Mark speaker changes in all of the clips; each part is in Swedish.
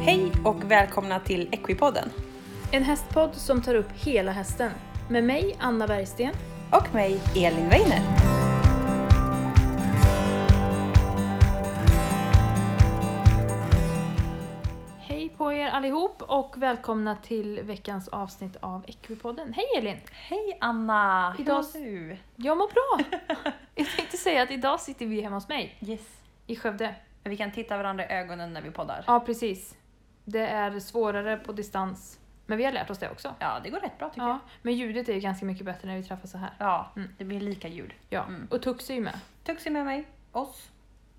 Speaker 1: Hej och välkomna till Equipodden
Speaker 2: En hästpodd som tar upp hela hästen. Med mig, Anna Bergsten.
Speaker 1: och mig Elin Weiner.
Speaker 2: Hej på er allihop och välkomna till veckans avsnitt av Equipodden. Hej Elin!
Speaker 1: Hej Anna!
Speaker 2: Idag-
Speaker 1: du?
Speaker 2: Jag mår bra! Jag tänkte säga att idag sitter vi hemma hos mig
Speaker 1: Yes.
Speaker 2: i Skövde.
Speaker 1: Vi kan titta varandra i ögonen när vi poddar.
Speaker 2: Ja, precis. Det är svårare på distans, men vi har lärt oss det också.
Speaker 1: Ja, det går rätt bra tycker
Speaker 2: Ja, men ljudet är ju ganska mycket bättre när vi träffas så här.
Speaker 1: jag. Ja,
Speaker 2: Mm.
Speaker 1: det blir lika ljud.
Speaker 2: Ja,
Speaker 1: Mm.
Speaker 2: och Tux är ju med.
Speaker 1: Tux är med mig, oss.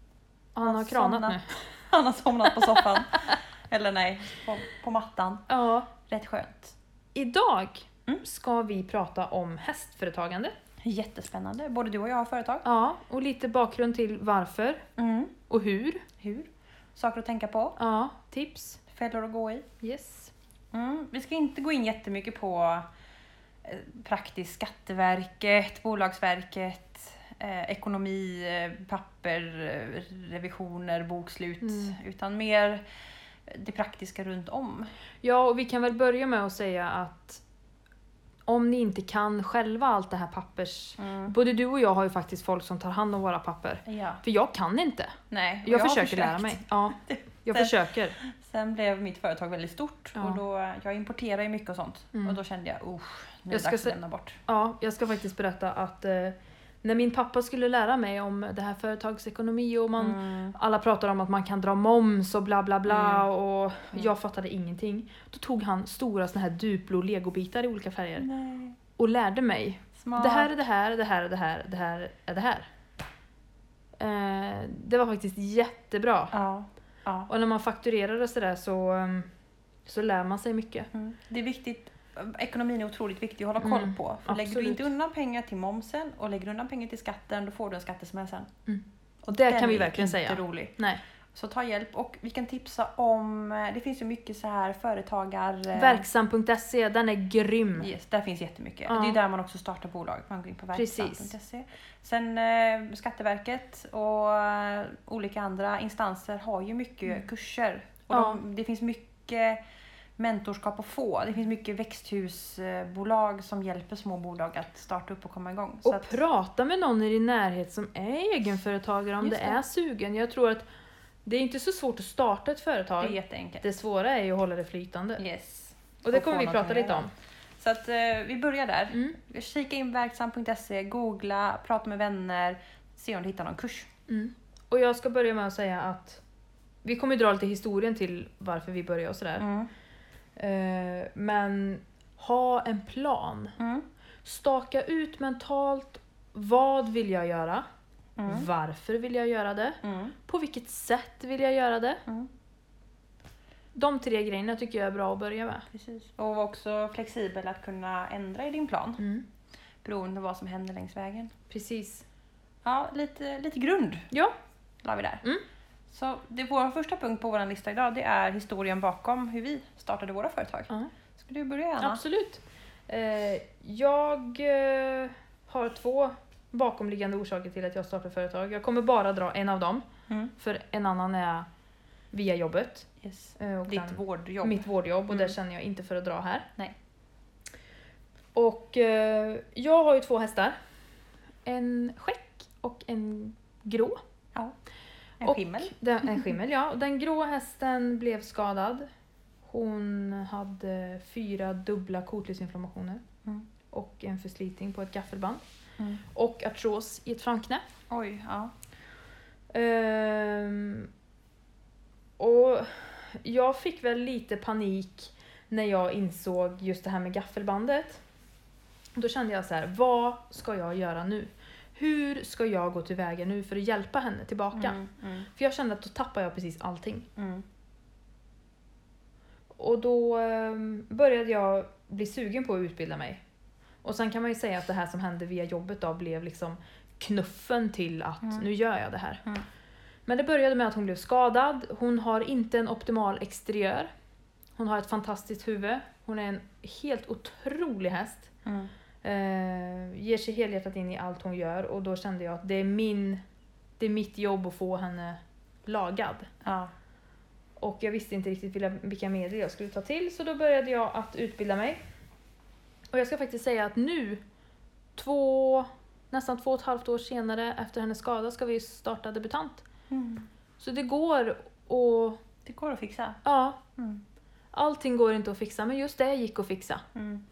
Speaker 2: Han har kranat
Speaker 1: Somnat.
Speaker 2: nu.
Speaker 1: Han har somnat på soffan. Eller nej, på, på mattan.
Speaker 2: Ja,
Speaker 1: Rätt skönt.
Speaker 2: idag
Speaker 1: Mm.
Speaker 2: ska vi prata om hästföretagande.
Speaker 1: Jättespännande. Både du och jag har företag.
Speaker 2: Ja, och lite bakgrund till varför
Speaker 1: Mm.
Speaker 2: och hur.
Speaker 1: Hur? Saker att tänka på.
Speaker 2: Ja, tips.
Speaker 1: Fällor att gå i.
Speaker 2: Yes.
Speaker 1: Mm. Vi ska inte gå in jättemycket på eh, praktiskt Skatteverket, Bolagsverket, eh, ekonomi, eh, papper, eh, revisioner, bokslut.
Speaker 2: Mm.
Speaker 1: Utan mer det praktiska runt om.
Speaker 2: Ja, och vi kan väl börja med att säga att om ni inte kan själva allt det här pappers... Både du och jag har ju faktiskt folk som tar hand om våra papper.
Speaker 1: Ja.
Speaker 2: För jag kan inte.
Speaker 1: Nej, och
Speaker 2: Jag,
Speaker 1: har
Speaker 2: försöker lära
Speaker 1: försökt.
Speaker 2: mig. Ja, jag
Speaker 1: Det-
Speaker 2: försöker.
Speaker 1: Sen blev mitt företag väldigt stort
Speaker 2: Ja.
Speaker 1: och då, jag importerar ju mycket och sånt.
Speaker 2: Mm.
Speaker 1: Och då kände jag, usch, nu är
Speaker 2: Jag
Speaker 1: det
Speaker 2: ska
Speaker 1: dags
Speaker 2: se-
Speaker 1: att lämna bort.
Speaker 2: Ja, jag ska faktiskt berätta att eh, när min pappa skulle lära mig om det här företagsekonomi och man
Speaker 1: Mm.
Speaker 2: Alla pratar om att man kan dra moms och bla bla bla
Speaker 1: Mm.
Speaker 2: och
Speaker 1: Mm.
Speaker 2: jag fattade ingenting. Då tog han stora såna här Duplo legobitar i olika färger
Speaker 1: Nej.
Speaker 2: och lärde mig.
Speaker 1: Smart.
Speaker 2: Det här är det här, det här är det här, det här är det här. Eh, det var faktiskt jättebra.
Speaker 1: Ja. ja.
Speaker 2: Och när man fakturerar och sådär så, ehm, så lär man sig mycket.
Speaker 1: Mm. Det är viktigt. Ekonomin är otroligt viktig att hålla koll
Speaker 2: Mm,
Speaker 1: på. För lägger du
Speaker 2: absolut.
Speaker 1: inte undan pengar till momsen och lägger du undan pengar till skatten, då får du en skattesmäll sen.
Speaker 2: Mm.
Speaker 1: Och
Speaker 2: Det
Speaker 1: den
Speaker 2: kan vi
Speaker 1: är
Speaker 2: verkligen
Speaker 1: inte
Speaker 2: säga.
Speaker 1: rolig.
Speaker 2: Nej,
Speaker 1: Så ta hjälp och vi kan tipsa om, eh, det finns ju mycket så här företagar... eh,
Speaker 2: verksam.se, E, den är grym.
Speaker 1: Yes, där finns jättemycket.
Speaker 2: Mm. Ja.
Speaker 1: Det är där man också startar bolag. Man går in på
Speaker 2: Precis.
Speaker 1: verksam.se. Sen eh, Skatteverket och eh, olika andra instanser har ju mycket kurser. Och
Speaker 2: Mm. Ja.
Speaker 1: de, det finns mycket mentorskap att få. Det finns mycket växthusbolag som hjälper små bolag att starta upp och komma igång. Så
Speaker 2: Och
Speaker 1: att,
Speaker 2: prata med någon i din närhet som är egenföretagare om
Speaker 1: Just
Speaker 2: det
Speaker 1: det.
Speaker 2: är sugen. Jag tror att det är inte så svårt att starta ett
Speaker 1: det
Speaker 2: företag.
Speaker 1: är jätteenkelt.
Speaker 2: Det svåra är ju att hålla det flytande.
Speaker 1: Yes.
Speaker 2: Och det
Speaker 1: Och
Speaker 2: kommer
Speaker 1: få
Speaker 2: vi
Speaker 1: något
Speaker 2: prata
Speaker 1: att
Speaker 2: lite
Speaker 1: göra.
Speaker 2: om.
Speaker 1: Så att eh, vi börjar där.
Speaker 2: Mm.
Speaker 1: Kika in verksam.se, googla, prata med vänner, se om du hittar någon kurs.
Speaker 2: Mm. Och jag ska börja med att säga att vi kommer ju dra lite historien till varför vi började och sådär.
Speaker 1: Mm.
Speaker 2: Eh, Men ha en plan.
Speaker 1: Mm.
Speaker 2: Staka ut mentalt vad vill jag göra?
Speaker 1: Mm.
Speaker 2: Varför vill jag göra det?
Speaker 1: Mm.
Speaker 2: På vilket sätt vill jag göra det?
Speaker 1: Mm.
Speaker 2: De tre grejerna tycker jag är bra att börja med.
Speaker 1: Precis. Och var också flexibel att kunna ändra i din plan
Speaker 2: Mm.
Speaker 1: beroende på vad som händer längs vägen.
Speaker 2: Precis.
Speaker 1: Ja, lite, lite grund
Speaker 2: Ja.
Speaker 1: la vi där.
Speaker 2: Mm.
Speaker 1: Så det, vår första punkt på vår lista idag det är historien bakom hur vi startade våra företag.
Speaker 2: Ja.
Speaker 1: Ska du börja Anna?
Speaker 2: Absolut. Eh, jag eh, har två bakomliggande orsaker till att jag startar företag. Jag kommer bara dra en av dem,
Speaker 1: Mm.
Speaker 2: för en annan är via jobbet.
Speaker 1: Yes.
Speaker 2: eh, Och
Speaker 1: Ditt
Speaker 2: den-
Speaker 1: vårdjobb.
Speaker 2: Mitt vårdjobb och
Speaker 1: Mm.
Speaker 2: det känner jag inte för att dra här.
Speaker 1: Nej.
Speaker 2: Och eh, jag har ju två hästar. En skäck och en grå.
Speaker 1: En
Speaker 2: och-
Speaker 1: skimmel.
Speaker 2: Den, en skimmel, ja. Och Den grå hästen blev skadad. Hon hade fyra dubbla kotlidsinflammationer
Speaker 1: Mm.
Speaker 2: och en förslitning på ett gaffelband
Speaker 1: Mm.
Speaker 2: och artros i ett framknä.
Speaker 1: Oj, ja.
Speaker 2: Ehm, och jag fick väl lite panik när jag insåg just det här med gaffelbandet. Då kände jag så här, vad ska jag göra nu? Hur ska jag gå tillväga nu för att hjälpa henne tillbaka?
Speaker 1: Mm. Mm.
Speaker 2: För jag kände att då tappar jag precis allting.
Speaker 1: Mm.
Speaker 2: Och då ehm, började jag bli sugen på att utbilda mig. Och sen kan man ju säga att det här som hände via jobbet då blev liksom knuffen till att
Speaker 1: Mm.
Speaker 2: nu gör jag det här.
Speaker 1: Mm.
Speaker 2: Men det började med att hon blev skadad. Hon har inte en optimal exteriör. Hon har ett fantastiskt huvud. Hon är en helt otrolig häst.
Speaker 1: Mm.
Speaker 2: Eh, ger sig helhjärtat in i allt hon gör och då kände jag att det är min, det är mitt jobb att få henne lagad.
Speaker 1: Ja.
Speaker 2: Och jag visste inte riktigt vilka- vilka medel jag skulle ta till så då började jag att utbilda mig. Och jag ska faktiskt säga att nu, två, nästan två och ett halvt år senare efter hennes skada ska vi starta debutant.
Speaker 1: Mm.
Speaker 2: Så det går och
Speaker 1: Det går att fixa.
Speaker 2: ja,
Speaker 1: Mm.
Speaker 2: allting går inte att fixa men just det gick att fixa.
Speaker 1: Mm.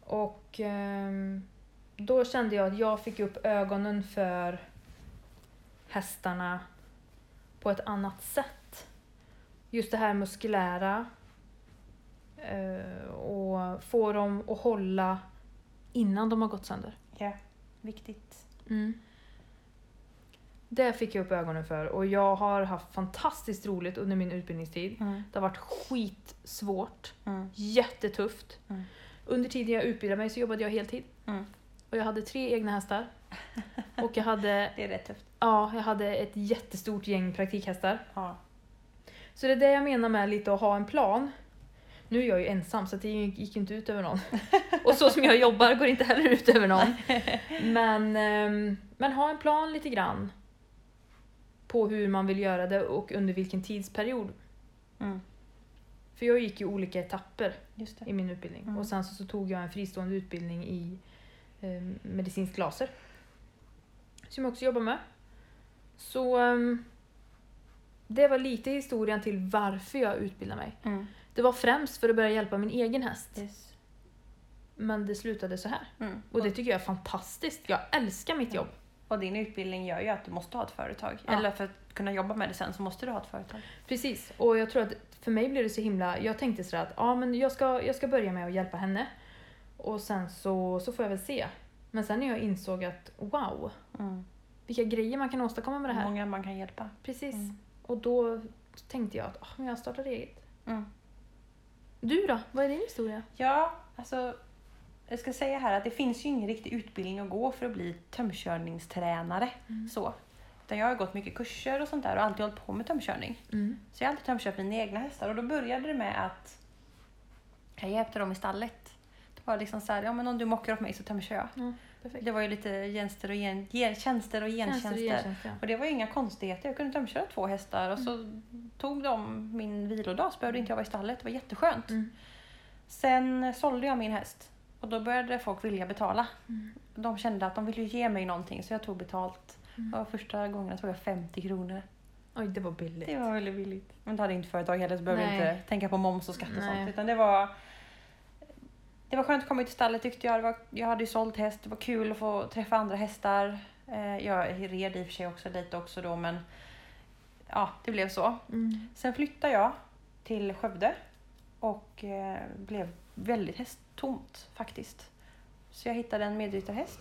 Speaker 2: Och ehm, då kände jag att jag fick upp ögonen för hästarna på ett annat sätt. Just det här muskulära eh, och få dem att hålla innan de har gått sönder.
Speaker 1: Ja, viktigt.
Speaker 2: Det fick jag upp ögonen för och jag har haft fantastiskt roligt under min utbildningstid.
Speaker 1: Mm.
Speaker 2: Det har varit skitsvårt,
Speaker 1: Mm.
Speaker 2: jättetufft.
Speaker 1: Mm.
Speaker 2: Under tiden jag utbildade mig så jobbade jag heltid.
Speaker 1: Mm.
Speaker 2: Och jag hade tre egna hästar. Och jag hade,
Speaker 1: Det är rätt tufft.
Speaker 2: ja, jag hade ett jättestort gäng praktikhästar.
Speaker 1: Ja.
Speaker 2: Så det är det jag menar med lite att ha en plan. Nu är jag ju ensam så det gick ju inte ut över någon. Och så som jag jobbar går det inte heller ut över någon. Men, ehm, men ha en plan lite grann. På hur man vill göra det och under vilken tidsperiod.
Speaker 1: Mm.
Speaker 2: För jag gick ju olika etapper
Speaker 1: Just det.
Speaker 2: i min utbildning.
Speaker 1: Mm.
Speaker 2: Och sen så, så tog jag en fristående utbildning i eh, medicinskt laser. Som jag också jobbar med. Så ehm, det var lite historien till varför jag utbildade mig.
Speaker 1: Mm.
Speaker 2: Det var främst för att börja hjälpa min egen häst.
Speaker 1: Yes.
Speaker 2: Men det slutade så här.
Speaker 1: Mm.
Speaker 2: Och det tycker jag är fantastiskt. Jag älskar mitt jobb.
Speaker 1: Och din utbildning gör ju att du måste ha ett företag.
Speaker 2: Ja.
Speaker 1: Eller för att kunna jobba med det sen så måste du ha ett företag.
Speaker 2: Precis. Och jag tror att för mig blev det så himla... Jag tänkte sådär att ja, men jag, ska, jag ska börja med att hjälpa henne. Och sen så, så får jag väl se. Men sen när jag insåg att wow,
Speaker 1: Mm.
Speaker 2: vilka grejer man kan åstadkomma med det här.
Speaker 1: Många man kan hjälpa.
Speaker 2: Precis.
Speaker 1: Mm.
Speaker 2: Och då tänkte jag att ah, men jag startar eget.
Speaker 1: Mm.
Speaker 2: Du då? Vad är din historia?
Speaker 1: Ja, alltså jag ska säga här att det finns ju ingen riktig utbildning att gå för att bli tömkörningstränare. Så. Utan jag har gått mycket kurser och sånt där och alltid hållit på med tömkörning.
Speaker 2: Mm.
Speaker 1: Så jag har alltid tömkört mina egna hästar och då började det med att jag hjälpte dem i stallet. Det var liksom så här, ja men om du mockar åt mig så tömkör jag.
Speaker 2: Ja, perfekt.
Speaker 1: Det var ju lite tjänster och, gen, gen, tjänster och
Speaker 2: Tjänster och
Speaker 1: gentjänster.
Speaker 2: gentjänster,
Speaker 1: Och det var ju inga konstigheter. Jag kunde tömköra två hästar och så
Speaker 2: Mm.
Speaker 1: tog de min vilodag så behövde inte jag vara i stallet. Det var jätteskönt.
Speaker 2: ja. Mm.
Speaker 1: Sen eh, sålde jag min häst och då började folk vilja betala.
Speaker 2: Mm.
Speaker 1: De kände att de ville ju ge mig någonting så jag tog betalt.
Speaker 2: Mm.
Speaker 1: Och första gången tog jag 50 kronor.
Speaker 2: Oj, det var billigt.
Speaker 1: Det var väldigt billigt. Men det hade inte företag heller så behövde jag
Speaker 2: Nej.
Speaker 1: inte tänka på moms och skatt och
Speaker 2: Nej.
Speaker 1: sånt. Utan det var... Det var skönt att komma ut i stallet tyckte jag. Det var, jag hade ju sålt häst, det var kul att få träffa andra hästar. Eh, Jag red i och för sig också lite också då men... Ja, det blev så.
Speaker 2: Mm.
Speaker 1: Sen flyttade jag till Skövde och eh, blev väldigt hästtomt faktiskt. Så jag hittade en medryttarhäst,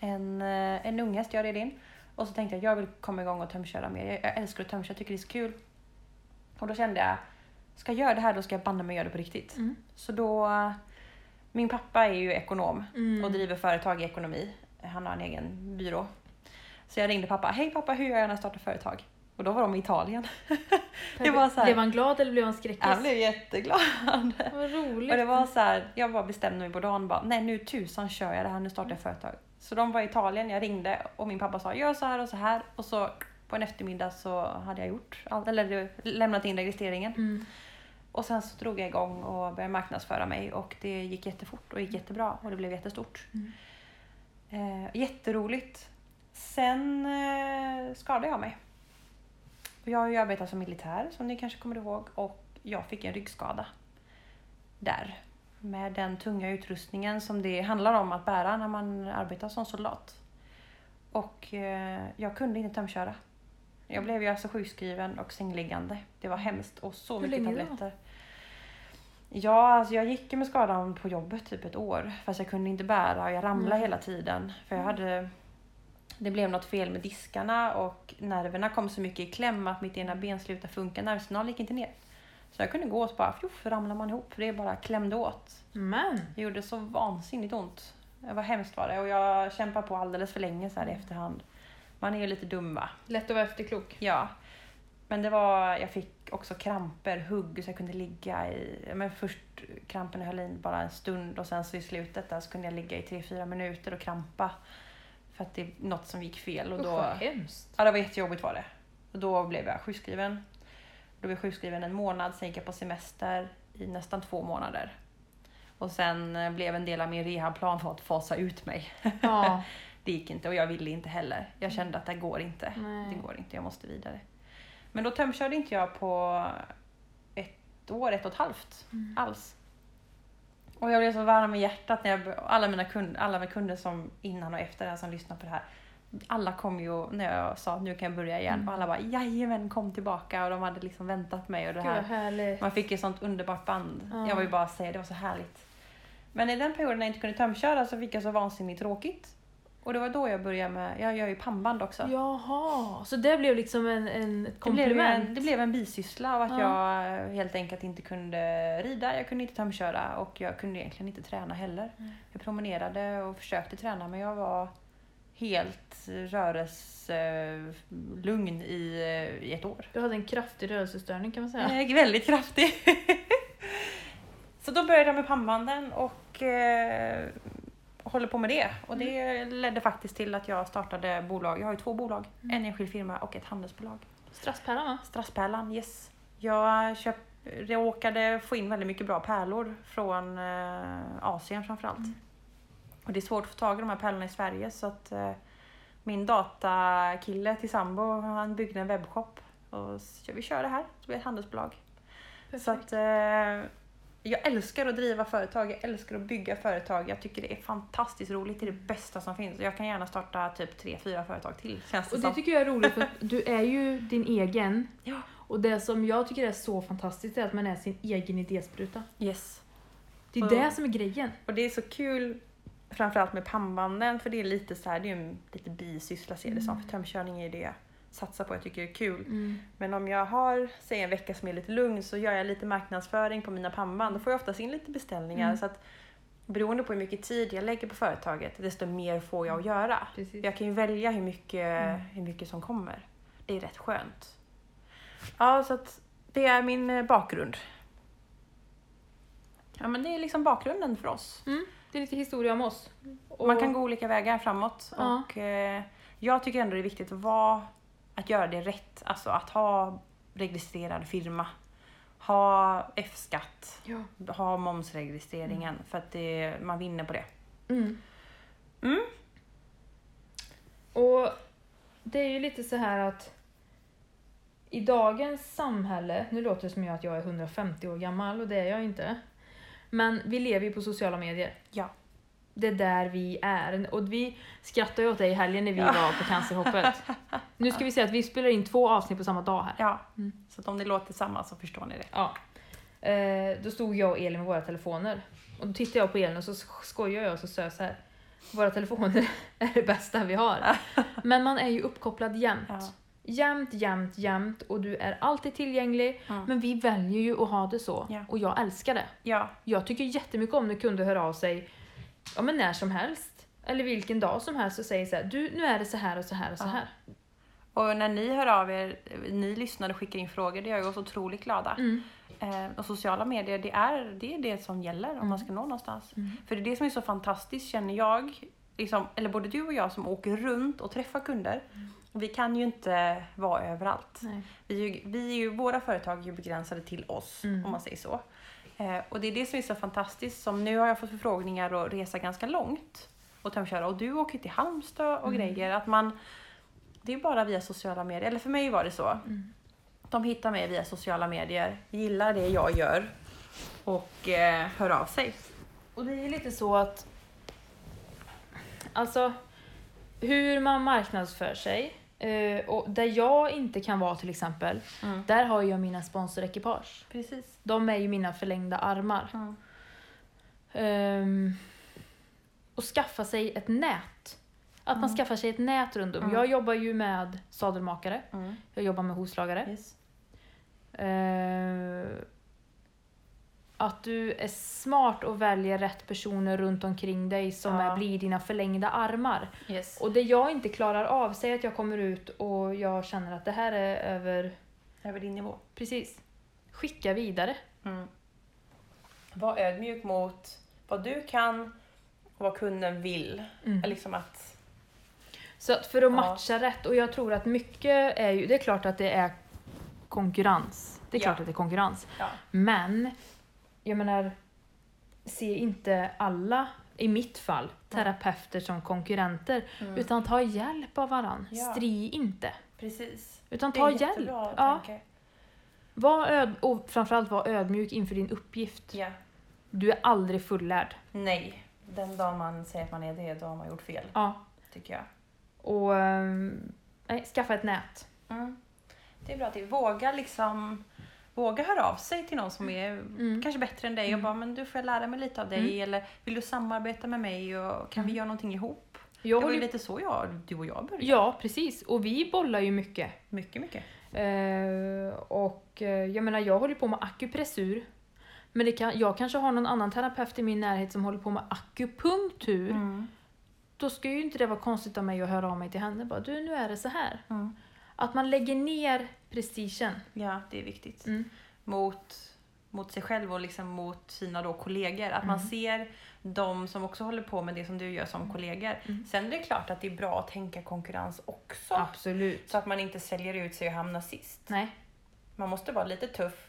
Speaker 1: en, eh, en unghäst jag red in och så tänkte jag jag vill komma igång och tömköra mer. Jag, jag älskar att tömköra, jag tycker det är så kul. Och då kände jag, ska jag göra det här då ska jag banne mig göra det på riktigt.
Speaker 2: Mm.
Speaker 1: Så då, min pappa är ju ekonom
Speaker 2: Mm.
Speaker 1: och driver företag i ekonomi. Han har en egen byrå. Så jag ringde pappa. Hej pappa, hur gör jag när jag startar företag? Och då var de i Italien. det var så här-
Speaker 2: Blev han glad eller blev han skräckis?
Speaker 1: Han blev jätteglad.
Speaker 2: Vad roligt.
Speaker 1: Och det var så här, jag bara bestämde mig på dagen bara, nej nu tusan kör jag det här, nu startar jag företag. Så de var i Italien, jag ringde och min pappa sa gör så här och så här och så på en eftermiddag så hade jag gjort allt, eller lämnat in registreringen.
Speaker 2: Mm.
Speaker 1: Och sen så drog jag igång och började marknadsföra mig och det gick jättefort och gick jättebra och det blev jättestort.
Speaker 2: Mm.
Speaker 1: Eh, jätteroligt. Sen eh, skadade jag mig. Och Jag har ju arbetat som militär som ni kanske kommer ihåg och jag fick en ryggskada där. Med den tunga utrustningen som det handlar om att bära när man arbetar som soldat. Och eh, jag kunde inte tömköra. Jag blev ju alltså sjukskriven och sängliggande. Det var hemskt och så
Speaker 2: Hur
Speaker 1: mycket
Speaker 2: länge då?
Speaker 1: tabletter. Ja, alltså jag gick ju med skadan på jobbet typ ett år. Fast jag kunde inte bära och jag ramlade
Speaker 2: Mm.
Speaker 1: hela tiden. För jag hade... Det blev något fel med diskarna och nerverna kom så mycket i kläm att mitt ena ben slutade funka. Nervsignalen gick inte ner. Så jag kunde gå och så bara fjoff ramlade man ihop för det bara klämde åt.
Speaker 2: Men.
Speaker 1: Det gjorde så vansinnigt ont. Det var hemskt var det och jag kämpade på alldeles för länge så här i efterhand. Man är ju lite dum va?
Speaker 2: Lätt att vara efterklok.
Speaker 1: Ja. Men det var, jag fick också kramper, hugg så jag kunde ligga i, men först krampen höll in bara en stund och sen så i slutet där så kunde jag ligga i 3-4 minuter och krampa. För att det är något som gick fel och
Speaker 2: Usch
Speaker 1: då...
Speaker 2: vad hemskt.
Speaker 1: Ja, det var jättejobbigt var det. Och då blev jag sjukskriven. Låg jag sjukskriven en månad, sen gick jag på semester i nästan två månader. Och sen eh, blev en del av min rehabplan för att fasa ut mig.
Speaker 2: Ja.
Speaker 1: Det gick inte och jag ville inte heller. Jag kände att det här går inte.
Speaker 2: Nej.
Speaker 1: Det går inte, jag måste vidare. Men då tömkörde inte jag på ett år, ett och ett halvt
Speaker 2: Mm.
Speaker 1: alls. Och jag blev så varm i hjärtat när jag, alla mina kunder, alla mina kunder som innan och efter det här som lyssnar på det här. Alla kom ju när jag sa att nu kan jag börja igen
Speaker 2: Mm.
Speaker 1: och alla bara jajamän kom tillbaka och de hade liksom väntat mig och det
Speaker 2: Gud vad
Speaker 1: här.
Speaker 2: härligt.
Speaker 1: Man fick ju sånt underbart band.
Speaker 2: Ja.
Speaker 1: Jag vill bara säga det var så härligt. Men i den perioden när jag inte kunde tömköra så fick jag så vansinnigt tråkigt. Och det var då jag började med, jag gör ju pannband också.
Speaker 2: Jaha, så det blev liksom en, en ett
Speaker 1: Det blev,
Speaker 2: komplement?
Speaker 1: en, det blev en bisyssla av att
Speaker 2: Ja.
Speaker 1: jag eh, helt enkelt inte kunde rida, jag kunde inte tömköra och jag kunde egentligen inte träna heller.
Speaker 2: Mm.
Speaker 1: Jag promenerade och försökte träna men jag var helt rörelselugn i, eh, i ett år.
Speaker 2: Du hade en kraftig rörelsestörning kan man säga.
Speaker 1: Eh, väldigt kraftig. så då började jag med pannbanden och eh, håller på med det. Och det ledde faktiskt till att jag startade bolag. Jag har ju två bolag,
Speaker 2: Mm.
Speaker 1: en enskild firma och ett handelsbolag.
Speaker 2: Strasspäran va?
Speaker 1: Strasspärlan, yes. Jag köp, råkade få in väldigt mycket bra pärlor från eh, Asien framförallt.
Speaker 2: Mm.
Speaker 1: Och det är svårt att få tag i de här pärlorna i Sverige så att eh, min datakille till sambo han byggde en webbshop och så vi kör det här, så blir det ett handelsbolag. Så att, eh, jag älskar att driva företag, jag älskar att bygga företag. Jag tycker det är fantastiskt roligt, det är det bästa som finns. Jag kan gärna starta typ tre, fyra företag till känns det
Speaker 2: Och
Speaker 1: som.
Speaker 2: det tycker jag är roligt för att du är ju din egen.
Speaker 1: Ja.
Speaker 2: Och det som jag tycker är så fantastiskt är att man är sin egen idéspruta.
Speaker 1: Yes.
Speaker 2: Det är
Speaker 1: Och-
Speaker 2: det som är grejen.
Speaker 1: Och det är så kul framförallt med pannbanden för det är lite så här, det är ju en lite bisyssla ser det som.
Speaker 2: Mm.
Speaker 1: För tömkörning är det jag satsar på, jag tycker det är kul. Men om jag har, säg en vecka som är lite lugn så gör jag lite marknadsföring på mina pannband. Då får jag oftast in lite beställningar.
Speaker 2: Mm.
Speaker 1: Så att beroende på hur mycket tid jag lägger på företaget desto mer får jag att göra.
Speaker 2: Precis.
Speaker 1: Jag kan ju välja hur mycket,
Speaker 2: Mm.
Speaker 1: hur mycket som kommer. Det är rätt skönt. Ja, så att det är min eh, bakgrund. Ja, men det är liksom bakgrunden för oss.
Speaker 2: Mm. Det är lite historia om oss. Och-
Speaker 1: Man kan gå olika vägar framåt
Speaker 2: Ja.
Speaker 1: och eh, jag tycker ändå det är viktigt att, vara, att göra det rätt. Alltså att ha registrerad firma, ha F-skatt,
Speaker 2: Ja.
Speaker 1: ha momsregistreringen för att det, man vinner på det.
Speaker 2: Mm.
Speaker 1: Mm.
Speaker 2: Och det är ju lite så här att i dagens samhälle, nu låter det som jag att jag är 150 år gammal och det är jag inte. Men vi lever ju på sociala medier.
Speaker 1: Ja.
Speaker 2: Det är där vi är. Och vi skrattade ju åt dig i helgen när vi var på cancerhoppet. Nu ska vi säga att vi spelar in två avsnitt på samma dag här.
Speaker 1: Ja,
Speaker 2: Mm.
Speaker 1: så att om det låter samma så förstår ni det.
Speaker 2: Ja. Eh, då stod jag och Elin med våra telefoner. Och då tittade jag på Elin och så skojade jag och så sa jag så här. Våra telefoner är det bästa vi har. Men man är ju uppkopplad jämt.
Speaker 1: Ja.
Speaker 2: Jämt, jämt, jämt och du är alltid tillgänglig.
Speaker 1: Mm.
Speaker 2: Men vi väljer ju att ha det så.
Speaker 1: Ja.
Speaker 2: Och jag älskar det.
Speaker 1: Ja,
Speaker 2: Jag tycker jättemycket om när kunder hör av sig ja, men när som helst. Eller vilken dag som helst och säger så här. Du, nu är det så här och så här och så
Speaker 1: Ja.
Speaker 2: här.
Speaker 1: och när ni hör av er, ni lyssnar och skickar in frågor, det gör ju oss otroligt glada.
Speaker 2: Mm.
Speaker 1: Eh, och sociala medier, det är, det är det som gäller om man ska nå någonstans.
Speaker 2: Mm.
Speaker 1: För det är det som är så fantastiskt känner jag, liksom, eller både du och jag som åker runt och träffar kunder.
Speaker 2: Mm.
Speaker 1: Vi kan ju inte vara överallt.
Speaker 2: Nej.
Speaker 1: Vi är ju, vi är ju, våra företag är ju begränsade till oss,
Speaker 2: Mm.
Speaker 1: om man säger så. Eh, och det är det som är så fantastiskt. Som nu har jag fått förfrågningar att resa ganska långt och tömköra. Och du åker ju till Halmstad och grejer. Att man, det är bara via sociala medier. Eller för mig var det så. De hittar mig via sociala medier, gillar det jag gör och eh, hör av sig.
Speaker 2: Och det är lite så att... Alltså, hur man marknadsför sig. eh, Och där jag inte kan vara till exempel,
Speaker 1: Mm.
Speaker 2: där har jag mina sponsorekipage.
Speaker 1: Precis. Mm.
Speaker 2: De är ju mina förlängda armar. Ehm, och skaffa sig ett nät. Att man
Speaker 1: Mm.
Speaker 2: skaffar sig ett nät runt om.
Speaker 1: Mm.
Speaker 2: Jag jobbar ju med sadelmakare,
Speaker 1: Mm.
Speaker 2: jag jobbar med hovslagare.
Speaker 1: Yes.
Speaker 2: Eh, att du är smart och väljer rätt personer runt omkring dig som
Speaker 1: Ja.
Speaker 2: är, blir dina förlängda armar.
Speaker 1: Yes.
Speaker 2: Och det jag inte klarar av, säg att jag kommer ut och jag känner att det här är över...
Speaker 1: Över din nivå.
Speaker 2: Precis. Skicka vidare.
Speaker 1: Mm. Var ödmjuk mot vad du kan och vad kunden vill. Liksom att,
Speaker 2: Så att för att matcha rätt, och jag tror att mycket är ju... Det är klart att det är konkurrens. Det är
Speaker 1: Ja.
Speaker 2: klart att det är konkurrens.
Speaker 1: Ja.
Speaker 2: Men, jag menar, se inte alla, i mitt fall, terapeuter som konkurrenter.
Speaker 1: Mm.
Speaker 2: Utan ta hjälp av varann.
Speaker 1: Ja.
Speaker 2: Stri inte.
Speaker 1: Precis.
Speaker 2: Utan
Speaker 1: Det är
Speaker 2: ta
Speaker 1: en
Speaker 2: hjälp.
Speaker 1: jättebra
Speaker 2: Ja.
Speaker 1: tanke.
Speaker 2: Var öd och framförallt var ödmjuk inför din uppgift.
Speaker 1: Ja.
Speaker 2: Du är aldrig fullärd.
Speaker 1: Nej. Den dag man säger att man är det, då har man gjort fel,
Speaker 2: Ja.
Speaker 1: tycker jag.
Speaker 2: Och ehm, nej, skaffa ett nät.
Speaker 1: Mm. Det är bra att våga liksom Våga höra av sig till någon som är
Speaker 2: Mm.
Speaker 1: kanske bättre än dig och
Speaker 2: Mm.
Speaker 1: bara men du får jag lära mig lite av dig
Speaker 2: Mm.
Speaker 1: eller vill du samarbeta med mig och kan vi
Speaker 2: Mm.
Speaker 1: göra någonting ihop?
Speaker 2: Jag
Speaker 1: det var ju
Speaker 2: håller...
Speaker 1: lite så jag, du och jag började.
Speaker 2: Ja, precis. Och vi bollar ju mycket.
Speaker 1: Mycket, mycket.
Speaker 2: Eh, och eh, jag menar, jag håller på med akupressur. Men det kan, jag kanske har någon annan terapeut i min närhet som håller på med akupunktur.
Speaker 1: Mm.
Speaker 2: Då ska ju inte det vara konstigt av mig att höra av mig till henne. Bara, du, nu är det så här.
Speaker 1: Mm.
Speaker 2: Att man lägger ner prestigen.
Speaker 1: Ja, det är viktigt.
Speaker 2: Mm.
Speaker 1: Mot, mot sig själv och liksom mot sina då kollegor. Att man
Speaker 2: Mm.
Speaker 1: ser de som också håller på med det som du gör som kollegor.
Speaker 2: Mm.
Speaker 1: Sen är det klart att det är bra att tänka konkurrens också.
Speaker 2: Absolut.
Speaker 1: Så att man inte säljer ut sig och hamnar sist.
Speaker 2: Nej.
Speaker 1: Man måste vara lite tuff.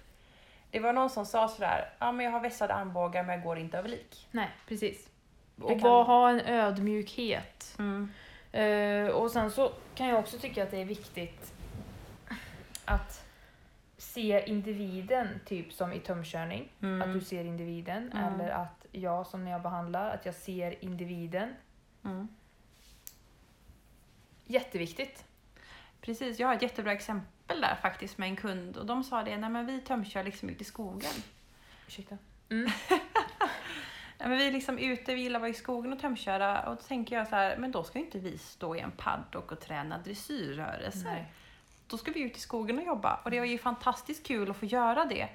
Speaker 1: Det var någon som sa sådär, ja men jag har vässade armbågar men jag går inte över lik.
Speaker 2: Nej, precis. Och
Speaker 1: kan- Mm,
Speaker 2: bara ha en ödmjukhet. Eh, och sen så kan jag också tycka att det är viktigt att se individen, typ som i tömkörning.
Speaker 1: Mm.
Speaker 2: Att du ser individen.
Speaker 1: Mm.
Speaker 2: Eller att jag som när jag behandlar, att jag ser individen.
Speaker 1: Mm.
Speaker 2: Jätteviktigt.
Speaker 1: Precis, jag har ett jättebra exempel där faktiskt med en kund och de sa det, nej men vi tömkör liksom ut i skogen.
Speaker 2: Ursäkta.
Speaker 1: Nej, men vi är liksom ute, vi gillar att vara i skogen och tömköra och då tänker jag så här, men då ska ju inte vi stå i en paddock och träna dressyrrörelser.
Speaker 2: Nej.
Speaker 1: Då ska vi ut i skogen och jobba och det var ju fantastiskt kul att få göra det.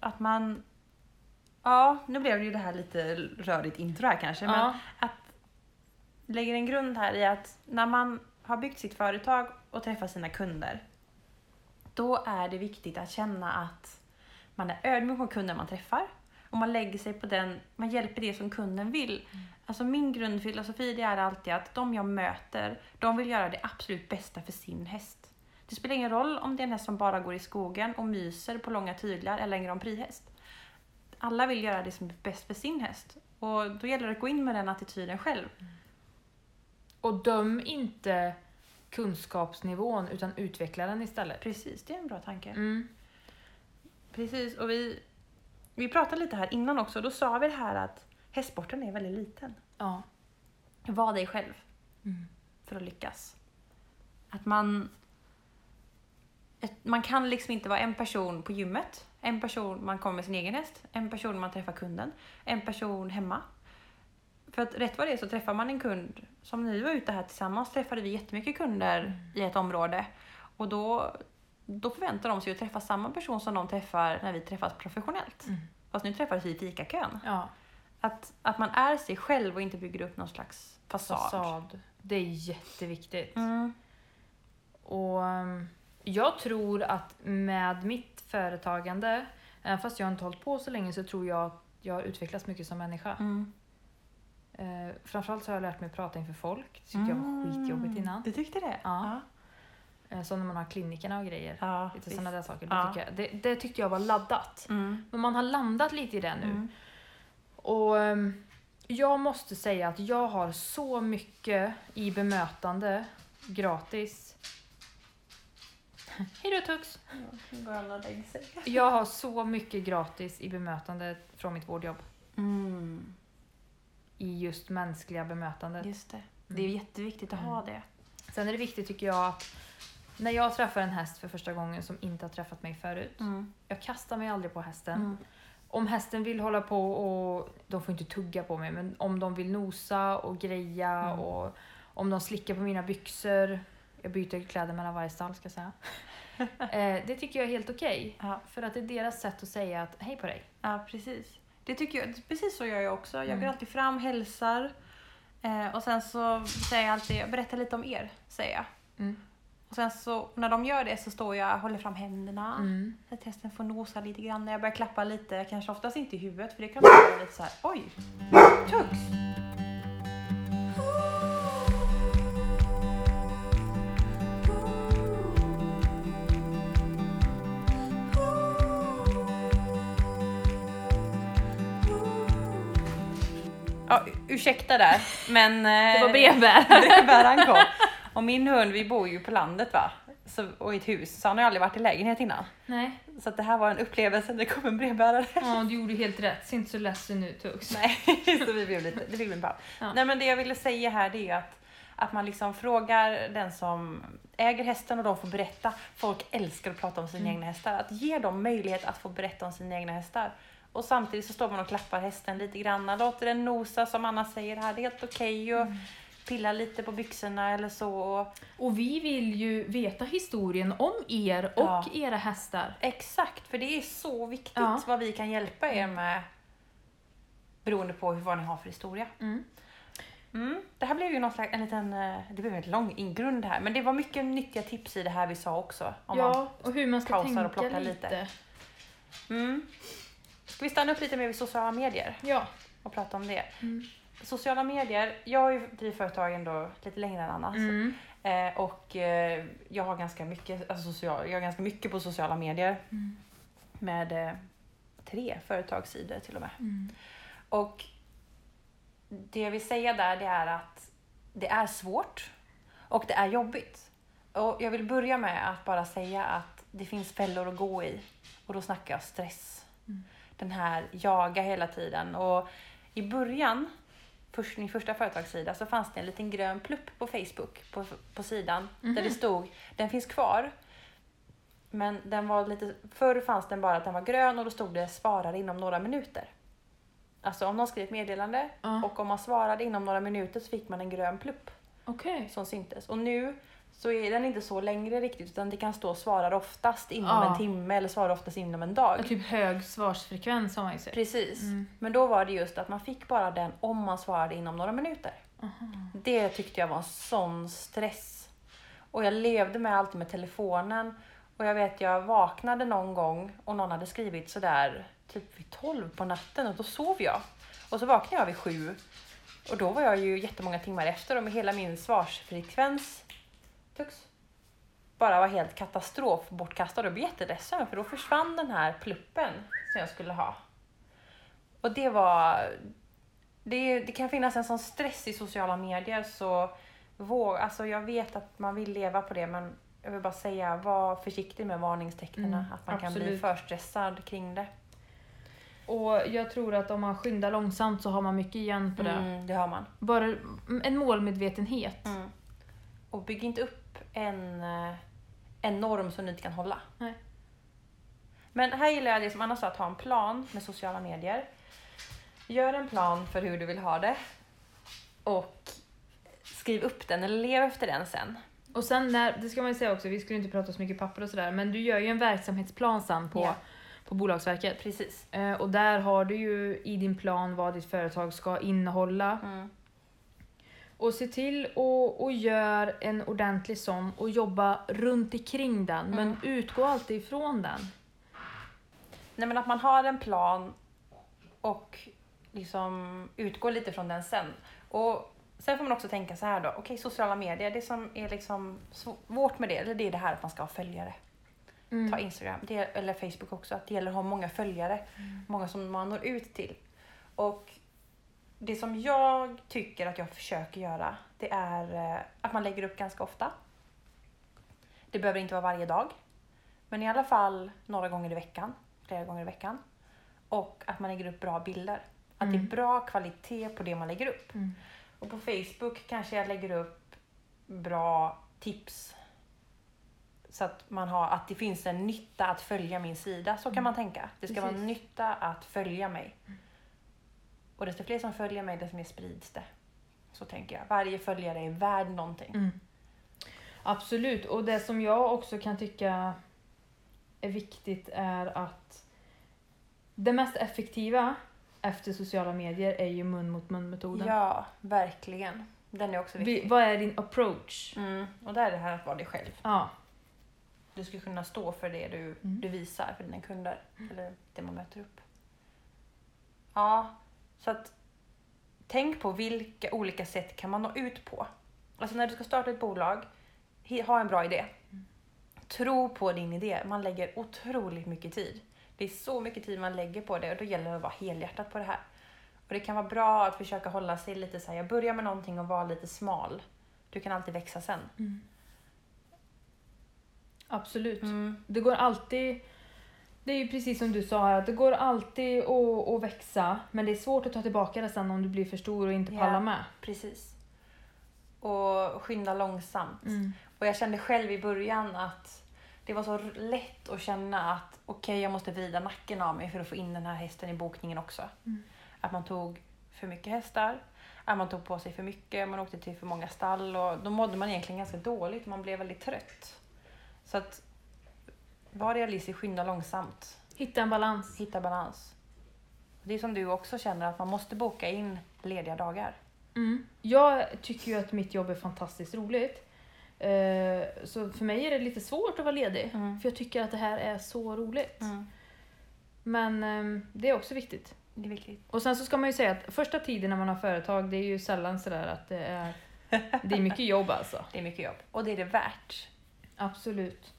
Speaker 1: Att man... Ja, nu blev det ju det här lite rörigt intro här kanske, men
Speaker 2: Ja.
Speaker 1: lägger en grund här i att när man har byggt sitt företag och träffar sina kunder, då är det viktigt att känna att man är ödmjuk mot kunden man träffar och man lägger sig på den, man hjälper det som kunden vill. Alltså min grundfilosofi det är alltid att de jag möter, de vill göra det absolut bästa för sin häst. Det spelar ingen roll om det är en häst som bara går i skogen och myser på långa tyglar eller en Grand Prix-häst. Alla vill göra det som är bäst för sin häst och då gäller det att gå in med den attityden själv.
Speaker 2: Och döm inte kunskapsnivån utan utveckla den istället.
Speaker 1: Precis, det är en bra tanke.
Speaker 2: Mm.
Speaker 1: Precis, och vi, vi pratade lite här innan också, då sa vi det här att hästsporten är väldigt liten.
Speaker 2: Ja.
Speaker 1: Var dig själv
Speaker 2: Mm.
Speaker 1: för att lyckas. Att man... Ett, man kan liksom inte vara en person på gymmet, en person man kommer med sin egen häst, en person man träffar kunden, en person hemma. För att rätt vad det är så träffar man en kund, som när vi var ute här tillsammans träffade vi jättemycket kunder i ett område. Och då, då förväntar de sig att träffa samma person som de träffar när vi träffas professionellt.
Speaker 2: Mm.
Speaker 1: Fast nu träffades vi i fikakön.
Speaker 2: ja.
Speaker 1: Att, att man är sig själv och inte bygger upp någon slags fasad.
Speaker 2: Fasad. Det är jätteviktigt.
Speaker 1: Mm.
Speaker 2: Och um, jag tror att med mitt företagande, även fast jag inte har hållit på så länge, så tror jag att jag har utvecklats mycket som människa.
Speaker 1: Mm.
Speaker 2: Eh, framförallt så har jag lärt mig prata inför folk. Det tyckte jag var
Speaker 1: Mm.
Speaker 2: skitjobbigt innan.
Speaker 1: Du tyckte det?
Speaker 2: Ja. Eh, som när man har klinikerna och grejer.
Speaker 1: ja.
Speaker 2: Lite
Speaker 1: visst.
Speaker 2: sådana där saker. Det,
Speaker 1: Ja.
Speaker 2: tycker jag, det, det tyckte jag var laddat.
Speaker 1: Mm.
Speaker 2: Men man har landat lite i det nu.
Speaker 1: Mm.
Speaker 2: Och ehm, jag måste säga att jag har så mycket i bemötande gratis. Hej då Tux!
Speaker 1: Nu Mm. går alla och lägger sig.
Speaker 2: Jag har så mycket gratis i bemötande från mitt vårdjobb.
Speaker 1: Mm.
Speaker 2: I just mänskliga bemötandet.
Speaker 1: Just det. Mm. Det är jätteviktigt att ha det.
Speaker 2: Sen är det viktigt tycker jag att när jag träffar en häst för första gången som inte har träffat mig förut.
Speaker 1: Mm.
Speaker 2: Jag kastar mig aldrig på hästen.
Speaker 1: Mm.
Speaker 2: Om hästen vill hålla på och, de får inte tugga på mig, men om de vill nosa och greja
Speaker 1: Mm.
Speaker 2: och om de slickar på mina byxor. Jag byter kläder mellan varje stall ska jag säga. eh, det tycker jag är helt okej.
Speaker 1: Ja.
Speaker 2: För att det är deras sätt att säga att hej på dig.
Speaker 1: ja, precis. Det tycker jag, precis så gör jag också. Jag går
Speaker 2: Mm.
Speaker 1: alltid fram, hälsar eh, och sen så säger jag alltid, jag berättar lite om er, säger jag.
Speaker 2: Mm.
Speaker 1: Och sen så när de gör det så står jag, håller fram händerna.
Speaker 2: Mm.
Speaker 1: Så att hästen får nosa lite grann. När jag börjar klappa lite, kanske oftast inte i huvudet för det kan vara lite så här. oj, tux!
Speaker 3: Ooh.
Speaker 1: Ja, ursäkta där, men...
Speaker 2: Det var
Speaker 1: eh,
Speaker 2: brevbäraren.
Speaker 1: brevbäraren kom. Och min hund, vi bor ju på landet va? Så, och i ett hus, så han har ju aldrig varit i lägenhet innan.
Speaker 2: Nej,
Speaker 1: Så att det här var en upplevelse, det kom en brevbärare.
Speaker 2: ja, du gjorde helt rätt. Ser inte så ledsen ut Tux.
Speaker 1: Nej, så vi blev lite, det blev en paus.
Speaker 2: Ja.
Speaker 1: Nej men det jag ville säga här det är att, att man liksom frågar den som äger hästen och de får berätta. Folk älskar att prata om sina
Speaker 2: Mm.
Speaker 1: egna hästar. Att ge dem möjlighet att få berätta om sina egna hästar. Och samtidigt så står man och klappar hästen lite grann, låter den nosa som Anna säger här, det är helt okej och
Speaker 2: Mm.
Speaker 1: pilla lite på byxorna eller så. Och,
Speaker 2: Och vi vill ju veta historien om er och
Speaker 1: Ja.
Speaker 2: era hästar.
Speaker 1: Exakt, för det är så viktigt
Speaker 2: Ja.
Speaker 1: vad vi kan hjälpa er med beroende på hur- vad ni har för historia.
Speaker 2: Mm.
Speaker 1: Mm. Det här blev ju någon slags, en liten, eh, det blev en lång ingrund här, men det var mycket nyttiga tips i det här vi sa också. Om
Speaker 2: Ja, och hur man ska
Speaker 1: pausar och
Speaker 2: tänka
Speaker 1: plockar
Speaker 2: lite.
Speaker 1: lite. man, mm. Ska vi stanna upp lite mer vid sociala medier
Speaker 2: Ja.
Speaker 1: och prata om det?
Speaker 2: Mm.
Speaker 1: Sociala medier, jag har ju drivit företag ändå lite längre än Anna. så-
Speaker 2: Mm.
Speaker 1: Eh, och eh, jag, har ganska mycket, alltså, social, jag har ganska mycket på sociala medier.
Speaker 2: Mm.
Speaker 1: Med eh, tre företagssidor till och med.
Speaker 2: Mm.
Speaker 1: Och det jag vill säga där det är att det är svårt och det är jobbigt. Och jag vill börja med att bara säga att det finns fällor att gå i och då snackar jag stress.
Speaker 2: Mm.
Speaker 1: Den här jaga hela tiden och i början, först, min första företagssida, så fanns det en liten grön plupp på Facebook på, på sidan där
Speaker 2: Mhm.
Speaker 1: det stod den finns kvar. Men den var lite, förr fanns den bara att den var grön och då stod det svarar inom några minuter. Alltså om någon skrev ett meddelande
Speaker 2: Ja.
Speaker 1: och om man svarade inom några minuter så fick man en grön plupp
Speaker 2: Okej.
Speaker 1: som syntes. Och nu så är den inte så längre riktigt utan det kan stå svarar oftast inom
Speaker 2: Ja.
Speaker 1: en timme eller svarar oftast inom en
Speaker 2: Ja,
Speaker 1: dag.
Speaker 2: Typ hög svarsfrekvens har man ju sett.
Speaker 1: Precis.
Speaker 2: Mm.
Speaker 1: Men då var det just att man fick bara den om man svarade inom några minuter.
Speaker 2: Aha.
Speaker 1: Det tyckte jag var en sån stress. Och jag levde med alltid med telefonen. Och jag vet, jag vaknade någon gång och någon hade skrivit sådär typ vid 12 på natten och då sov jag. Och så vaknade jag vid 7. Och då var jag ju jättemånga timmar efter och med hela min svarsfrekvens tux, bara var helt katastrof bortkastad. Jag blev jätteledsen för då försvann den här pluppen som jag skulle ha. Och det var, det, det kan finnas en sån stress i sociala medier så våg, alltså jag vet att man vill leva på det men jag vill bara säga var försiktig med varningstecknen
Speaker 2: Mm,
Speaker 1: att man kan bli
Speaker 2: absolut.
Speaker 1: förstressad kring det.
Speaker 2: Och jag tror att om man skyndar långsamt så har man mycket igen på det.
Speaker 1: Mm, det hör man.
Speaker 2: Bara en målmedvetenhet.
Speaker 1: Mm. Och bygg inte upp en, eh, en norm som du inte kan hålla.
Speaker 2: Nej.
Speaker 1: Men här gillar jag det som Anna sa, att ha en plan med sociala medier. Gör en plan för hur du vill ha det. Och skriv upp den eller lev efter den sen.
Speaker 2: Och sen när, det ska man ju säga också, vi skulle inte prata så mycket papper och sådär, men du gör ju en verksamhetsplan sen på,
Speaker 1: Ja.
Speaker 2: på Bolagsverket.
Speaker 1: Precis.
Speaker 2: Eh, och där har du ju i din plan vad ditt företag ska innehålla.
Speaker 1: Mm.
Speaker 2: Och se till och, och gör en ordentlig sån och jobba runt omkring den, men
Speaker 1: Mm.
Speaker 2: utgå alltid ifrån den.
Speaker 1: Nej men att man har en plan och liksom utgår lite från den sen. Och sen får man också tänka så här då, okej sociala medier, det som är liksom svårt med det, eller det är det här att man ska ha följare.
Speaker 2: Mm.
Speaker 1: ta Instagram det, eller Facebook också, att det gäller att ha många följare.
Speaker 2: Mm.
Speaker 1: Många som man når ut till. Och det som jag tycker att jag försöker göra, det är eh, att man lägger upp ganska ofta. Det behöver inte vara varje dag, men i alla fall några gånger i veckan, flera gånger i veckan. Och att man lägger upp bra bilder. Att
Speaker 2: Mm.
Speaker 1: det är bra kvalitet på det man lägger upp.
Speaker 2: Mm.
Speaker 1: Och på Facebook kanske jag lägger upp bra tips. Så att, man har, att det finns en nytta att följa min sida, så kan man tänka. Det ska vara en
Speaker 2: Mm. Precis. Mm.
Speaker 1: nytta att följa mig. Och desto fler som följer mig, desto mer sprids det. Så tänker jag. Varje följare är värd någonting.
Speaker 2: Mm. Absolut, och det som jag också kan tycka är viktigt är att det mest effektiva efter sociala medier är ju mun mot mun-metoden.
Speaker 1: Ja, verkligen. Den är också
Speaker 2: Vi-
Speaker 1: viktig.
Speaker 2: Vad är din approach?
Speaker 1: Mm. Och där är det här att vara dig själv.
Speaker 2: Ja,
Speaker 1: Du ska kunna stå för det du, du visar för dina kunder. Eller det man möter upp. Ja, så att tänk på vilka olika sätt kan man nå ut på. Alltså när du ska starta ett bolag, he- ha en bra idé. Tro på din idé. Man lägger otroligt mycket tid. Det är så mycket tid man lägger på det och då gäller det att vara helhjärtat på det här. Och det kan vara bra att försöka hålla sig lite så här, jag börjar med någonting och vara lite smal. Du kan alltid växa sen.
Speaker 2: Absolut.
Speaker 1: Mm.
Speaker 2: Det går alltid... Det är ju precis som du sa här, att det går alltid att, att växa men det är svårt att ta tillbaka det sen om du blir för stor och inte
Speaker 1: Ja.
Speaker 2: pallar med.
Speaker 1: Precis. Och skynda långsamt.
Speaker 2: Mm.
Speaker 1: Och jag kände själv i början att det var så r- lätt att känna att okej, jag måste vrida nacken av mig för att få in den här hästen i bokningen också.
Speaker 2: Mm.
Speaker 1: Att man tog för mycket hästar, att man tog på sig för mycket, man åkte till för många stall och då mådde man egentligen ganska dåligt och man blev väldigt trött. Så att var realistisk, skynda långsamt,
Speaker 2: Hitta en balans.
Speaker 1: hitta balans. Det är som du också känner, att man måste boka in lediga dagar. Mm.
Speaker 2: Jag tycker ju att mitt jobb är fantastiskt roligt. Eh, Så för mig är det lite svårt att vara ledig.
Speaker 1: Mm.
Speaker 2: För jag tycker att det här är så roligt. Men ehm, det är också viktigt.
Speaker 1: Det är viktigt.
Speaker 2: Och sen så ska man ju säga att första tiden när man har företag det är ju sällan sådär att det är... Det är mycket jobb alltså.
Speaker 1: Det är mycket jobb och det är det värt.
Speaker 2: Absolut.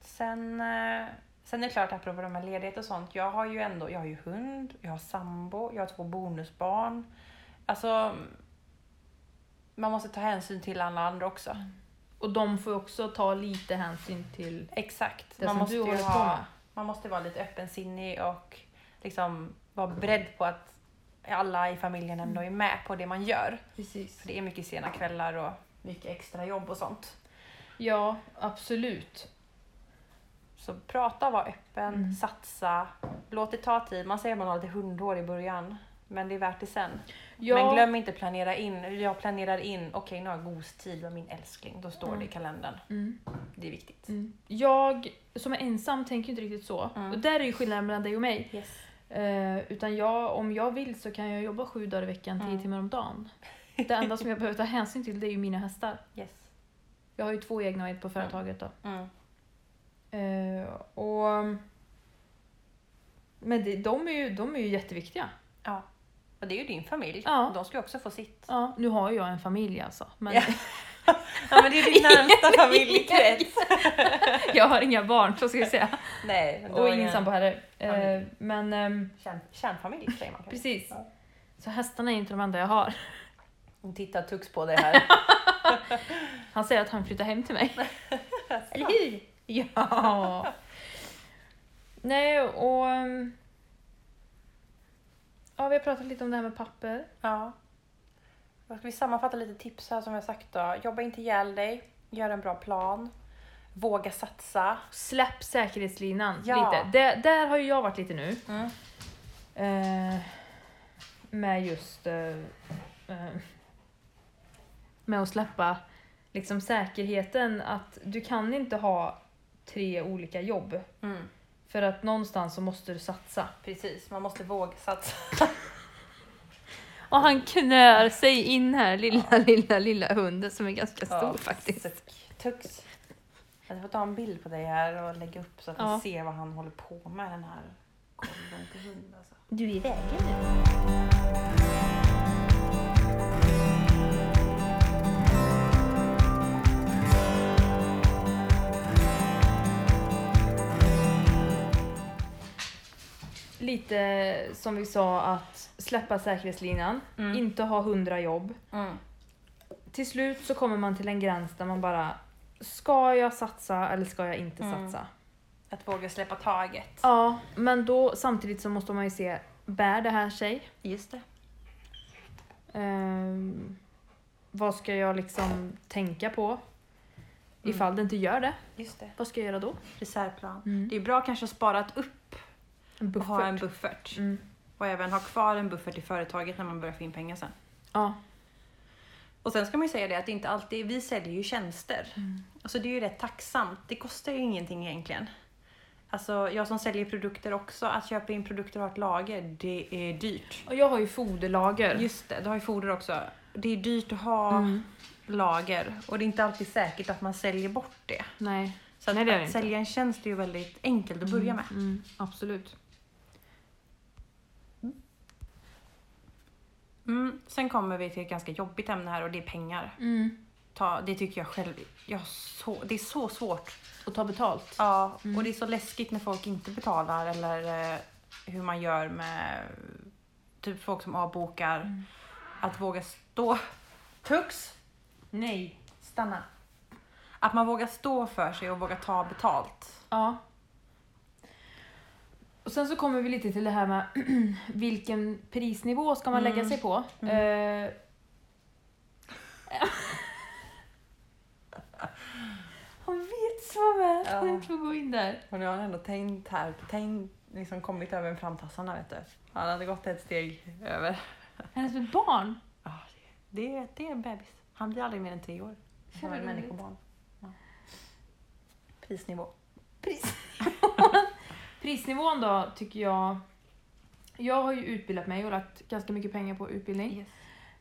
Speaker 1: Sen, eh, sen är det klart, apropå det med ledighet och sånt. Jag har ju ändå jag har ju hund, jag har sambo, jag har två bonusbarn. Alltså, man måste ta hänsyn till alla andra också.
Speaker 2: Mm. Och de får ju också ta lite hänsyn till
Speaker 1: Exakt.
Speaker 2: det
Speaker 1: man,
Speaker 2: som
Speaker 1: måste
Speaker 2: du
Speaker 1: ju
Speaker 2: håller på
Speaker 1: ha,
Speaker 2: med.
Speaker 1: man måste vara lite öppensinnig och liksom vara beredd på att alla i familjen ändå
Speaker 2: Mm.
Speaker 1: är med på det man gör.
Speaker 2: Precis.
Speaker 1: För det är mycket sena kvällar och mycket extra jobb och sånt.
Speaker 2: Ja, absolut.
Speaker 1: Så prata, var öppen,
Speaker 2: Mm.
Speaker 1: satsa, låt det ta tid. Man säger att man har lite hundår i början, men det är värt det sen.
Speaker 2: Ja,
Speaker 1: Men glöm inte planera in. Jag planerar in, okej nu har jag gostid med min älskling. Då står
Speaker 2: Mm.
Speaker 1: det i kalendern.
Speaker 2: mm,
Speaker 1: Det är viktigt.
Speaker 2: mm. jag som är ensam tänker ju inte riktigt så.
Speaker 1: Mm.
Speaker 2: Och där är ju skillnaden mellan dig och mig.
Speaker 1: Yes.
Speaker 2: Eh, utan jag, om jag vill så kan jag jobba sju dagar i veckan, tio
Speaker 1: Mm.
Speaker 2: timmar om dagen. Det enda som jag behöver ta hänsyn till det är ju mina hästar.
Speaker 1: Yes.
Speaker 2: Jag har ju två egna och ett på företaget då.
Speaker 1: Mm.
Speaker 2: Eh, och... Men det, de, är ju, de är ju jätteviktiga.
Speaker 1: Ja. Och det är ju din familj.
Speaker 2: Ja.
Speaker 1: De ska ju också få sitt.
Speaker 2: Ja, nu har ju jag en familj alltså. Men
Speaker 1: Ja. Ja men det är ju din närmsta familjekrets.
Speaker 2: jag har inga barn, så ska jag säga.
Speaker 1: Nej. men då
Speaker 2: Och
Speaker 1: är det
Speaker 2: ingen
Speaker 1: en
Speaker 2: sambo heller. Eh,
Speaker 1: Familj.
Speaker 2: men ehm,
Speaker 1: Kärn, kärnfamilj säger man kanske.
Speaker 2: precis.
Speaker 1: Ja.
Speaker 2: Så hästarna är inte de enda jag har.
Speaker 1: Hon tittar tux på dig här.
Speaker 2: Han säger att han flyttar hem till mig. Eller hur? Ja. Nej, och... ehm, Ja, vi har pratat lite om det här med papper.
Speaker 1: ja. Då Ska vi sammanfatta lite tips här som jag sagt då? Jobba inte ihjäl dig. Gör en bra plan. Våga satsa.
Speaker 2: Släpp säkerhetslinan
Speaker 1: Ja.
Speaker 2: lite. Det, där har ju jag varit lite nu.
Speaker 1: Mm.
Speaker 2: Eh, med just... Eh, eh, med att släppa liksom säkerheten att du kan inte ha tre olika jobb.
Speaker 1: Mm.
Speaker 2: För att någonstans så måste du satsa.
Speaker 1: Precis, man måste våga satsa.
Speaker 2: Och han knör sig in här, lilla, lilla, lilla hunden som är ganska stor
Speaker 1: Ja,
Speaker 2: faktiskt.
Speaker 1: suck. Tux. Jag får ta en bild på dig här och lägga upp så att
Speaker 2: Ja.
Speaker 1: ni ser vad han håller på med den här kollen på hund alltså.
Speaker 2: Du är i vägen nu. Lite som vi sa att släppa säkerhetslinan,
Speaker 1: Mm.
Speaker 2: inte ha hundra jobb.
Speaker 1: Mm.
Speaker 2: Till slut så kommer man till en gräns där man bara, ska jag satsa eller ska jag inte
Speaker 1: Mm.
Speaker 2: satsa?
Speaker 1: Att våga släppa taget.
Speaker 2: Ja, men då samtidigt så måste man ju se, bär det här sig?
Speaker 1: Just det.
Speaker 2: Ehm, vad ska jag liksom tänka på? Ifall det inte gör det,
Speaker 1: Just det.
Speaker 2: vad ska jag göra då?
Speaker 1: Reservplan.
Speaker 2: Mm.
Speaker 1: Det är bra kanske att spara ett upp
Speaker 2: En
Speaker 1: och ha en
Speaker 2: buffert.
Speaker 1: buffert.
Speaker 2: Mm.
Speaker 1: Och även ha kvar en buffert i företaget när man börjar få in pengar sen.
Speaker 2: Ja.
Speaker 1: Och sen ska man ju säga det att det inte alltid, vi säljer ju tjänster.
Speaker 2: Mm.
Speaker 1: Alltså det är ju rätt tacksamt. Det kostar ju ingenting egentligen. Alltså jag som säljer produkter också, att köpa in produkter och ha ett lager, det är dyrt.
Speaker 2: Och jag har ju foderlager.
Speaker 1: Just det, du har ju foder också. Det är dyrt att ha
Speaker 2: Mm.
Speaker 1: lager och det är inte alltid säkert att man säljer bort det.
Speaker 2: Nej.
Speaker 1: Så att,
Speaker 2: Nej, det är det
Speaker 1: att
Speaker 2: inte.
Speaker 1: sälja en tjänst är ju väldigt enkelt att börja med.
Speaker 2: Mm, mm, absolut.
Speaker 1: Mm. Sen kommer vi till ett ganska jobbigt ämne här och det är pengar.
Speaker 2: Mm.
Speaker 1: Ta, det tycker jag själv, jag har så, det är så svårt
Speaker 2: Och ta betalt.
Speaker 1: Mm. Ja, och det är så läskigt när folk inte betalar eller eh, hur man gör med typ folk som avbokar,
Speaker 2: Mm.
Speaker 1: att våga stå. Tux! Nej, stanna. Att man vågar stå för sig och våga ta betalt.
Speaker 2: Ja. Och sen så kommer vi lite till det här med vilken prisnivå ska man lägga
Speaker 1: Mm.
Speaker 2: sig på? Eh, Hon vet så väl att hon
Speaker 1: Ja.
Speaker 2: inte får gå in där.
Speaker 1: Men jag har ändå tänkt här, tänkt, liksom kommit över framtassarna vet du. Han hade gått ett steg över.
Speaker 2: Hennes barn.
Speaker 1: Ja, det, det, det är en bebis. Han blir aldrig mer än tre år.
Speaker 2: Så
Speaker 1: Han är
Speaker 2: roligt.
Speaker 1: människobarn. Ja. Prisnivå.
Speaker 2: Prisnivån. Prisnivån då tycker jag. Jag har ju utbildat mig och lagt ganska mycket pengar på utbildning.
Speaker 1: Yes.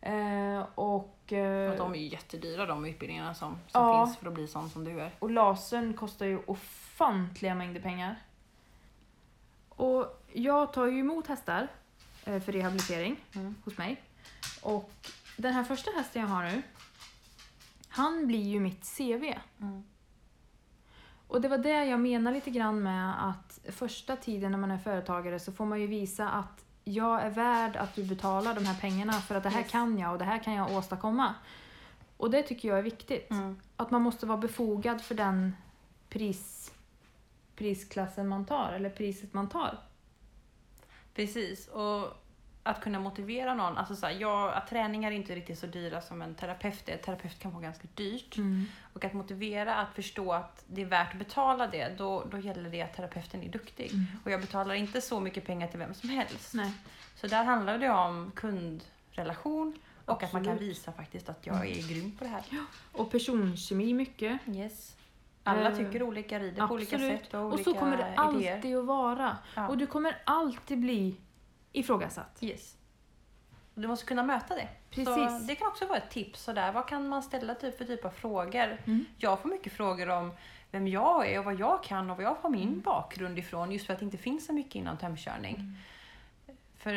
Speaker 2: Eh, och, eh,
Speaker 1: För att de är ju jättedyra de utbildningarna som, som
Speaker 2: Ja.
Speaker 1: finns för att bli sån som du är.
Speaker 2: Och lasern kostar ju ofantliga mängder pengar. Och jag tar ju emot hästar eh, för rehabilitering
Speaker 1: Mm.
Speaker 2: hos mig. Och den här första hästen jag har nu, han blir ju mitt CV.
Speaker 1: Mm.
Speaker 2: Och det var det jag menar lite grann med att första tiden när man är företagare så får man ju visa att jag är värd att du betalar de här pengarna för att det här
Speaker 1: Yes.
Speaker 2: kan jag och det här kan jag åstadkomma. Och det tycker jag är viktigt. Att man måste vara befogad för den pris, prisklassen man tar, eller priset man tar.
Speaker 1: Precis, och att kunna motivera någon. Alltså så här, jag, att träningar är inte riktigt så dyra som en terapeut är. Terapeut kan vara ganska dyrt.
Speaker 2: Mm.
Speaker 1: Och att motivera, att förstå att det är värt att betala det, då, då gäller det att terapeuten är duktig.
Speaker 2: Mm.
Speaker 1: Och jag betalar inte så mycket pengar till vem som helst.
Speaker 2: Nej.
Speaker 1: Så där handlar det om kundrelation och att man kan
Speaker 2: Absolut.
Speaker 1: visa faktiskt att jag är grym på det här.
Speaker 2: Och personkemi mycket.
Speaker 1: Yes. Alla
Speaker 2: Eh,
Speaker 1: tycker olika, rider på olika
Speaker 2: absolut.
Speaker 1: sätt och olika
Speaker 2: Och så kommer det alltid
Speaker 1: idéer.
Speaker 2: att vara.
Speaker 1: Ja.
Speaker 2: Och du kommer alltid bli ifrågasatt.
Speaker 1: Yes. Du måste kunna möta det. Så
Speaker 2: Precis.
Speaker 1: det kan också vara ett tips. Sådär. Vad kan man ställa typ för typ av frågor?
Speaker 2: Mm.
Speaker 1: Jag får mycket frågor om vem jag är och vad jag kan och vad jag har
Speaker 2: Mm.
Speaker 1: min bakgrund ifrån. Just för att det inte finns så mycket inom tömkörning. För,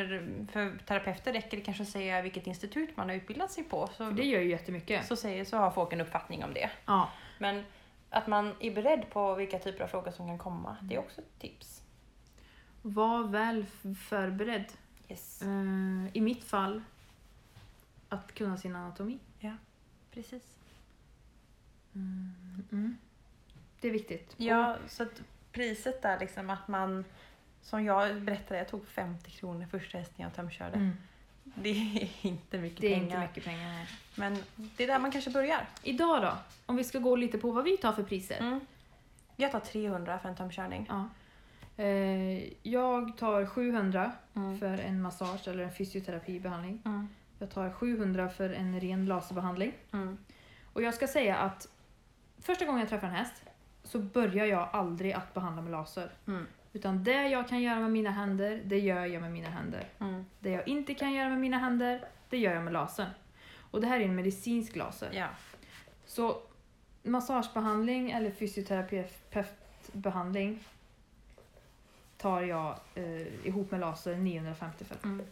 Speaker 1: för terapeuter räcker det kanske att säga vilket institut man har utbildat sig på. Så,
Speaker 2: För det gör ju jättemycket.
Speaker 1: så, säger, så har folk en uppfattning om det.
Speaker 2: Ja.
Speaker 1: Men att man är beredd på vilka typer av frågor som kan komma, det är
Speaker 2: Mm.
Speaker 1: också ett tips.
Speaker 2: Var väl f- förberedd.
Speaker 1: Yes,
Speaker 2: Eh, I mitt fall, att kunna sin anatomi.
Speaker 1: precis.
Speaker 2: Mm. Det är viktigt.
Speaker 1: Mm. Ja, så att priset där liksom att man som jag berättade, jag tog 50 kronor första hästen jag tömkörde.
Speaker 2: Och, mm.
Speaker 1: Det är inte mycket
Speaker 2: Det är
Speaker 1: pengar.
Speaker 2: inte mycket pengar. nej.
Speaker 1: Men det är där man kanske börjar.
Speaker 2: Idag då? Om vi ska gå lite på vad vi tar för priser.
Speaker 1: Mm. Jag tar 300 för en tömkörning.
Speaker 2: Ja. Eh, jag tar 700
Speaker 1: Mm.
Speaker 2: för en massage eller en fysioterapibehandling.
Speaker 1: Mm.
Speaker 2: Jag tar 700 för en ren laserbehandling.
Speaker 1: Mm.
Speaker 2: Och jag ska säga att första gången jag träffar en häst så börjar jag aldrig att behandla med laser.
Speaker 1: Mm.
Speaker 2: Utan det jag kan göra med mina händer, det gör jag med mina händer.
Speaker 1: Mm.
Speaker 2: Det jag inte kan göra med mina händer, det gör jag med lasern. Och det här är en medicinsk laser.
Speaker 1: Ja.
Speaker 2: Så massagebehandling eller fysioterapeutbehandling tar jag eh, ihop med laser 950 för.
Speaker 1: Mm.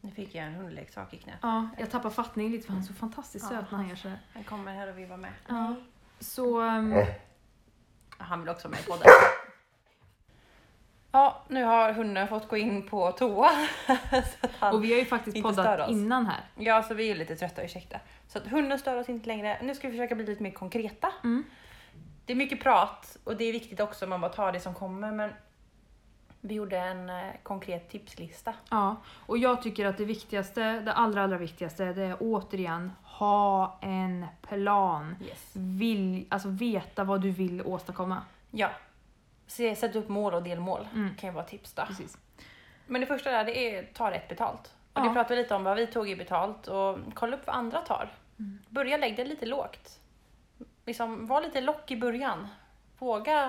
Speaker 1: Nu fick jag en hundleksak i knät.
Speaker 2: Ja, jag tappar fattning lite för han är så fantastiskt
Speaker 1: Ja.
Speaker 2: söt när han gör sådär.
Speaker 1: Han kommer här och vibbar med.
Speaker 2: Ja. Så ehm,
Speaker 1: Han vill också vara med i podden. Ja, nu har hunden fått gå in på toa. så att han...
Speaker 2: Och vi har ju faktiskt
Speaker 1: Inte stör
Speaker 2: poddat
Speaker 1: oss.
Speaker 2: innan här.
Speaker 1: Ja, så vi är lite trötta, ursäkta. Så att hunden stör oss inte längre. Nu ska vi försöka bli lite mer konkreta.
Speaker 2: Mm.
Speaker 1: Det är mycket prat och det är viktigt också, man bara tar det som kommer. Men vi gjorde en eh, konkret tipslista.
Speaker 2: Ja, och jag tycker att det viktigaste, det allra allra viktigaste, det är återigen ha en plan.
Speaker 1: Yes.
Speaker 2: Vill, alltså veta vad du vill åstadkomma.
Speaker 1: Ja. Se- Sätt upp mål och delmål,
Speaker 2: Mm.
Speaker 1: kan ju vara tips då.
Speaker 2: Precis.
Speaker 1: Men det första där, det är ta rätt betalt. Och
Speaker 2: Ja.
Speaker 1: det pratade vi lite om vad vi tog i betalt och kolla upp vad andra tar.
Speaker 2: Mm.
Speaker 1: Börja lägga det lite lågt. Liksom, var lite lock i början. Våga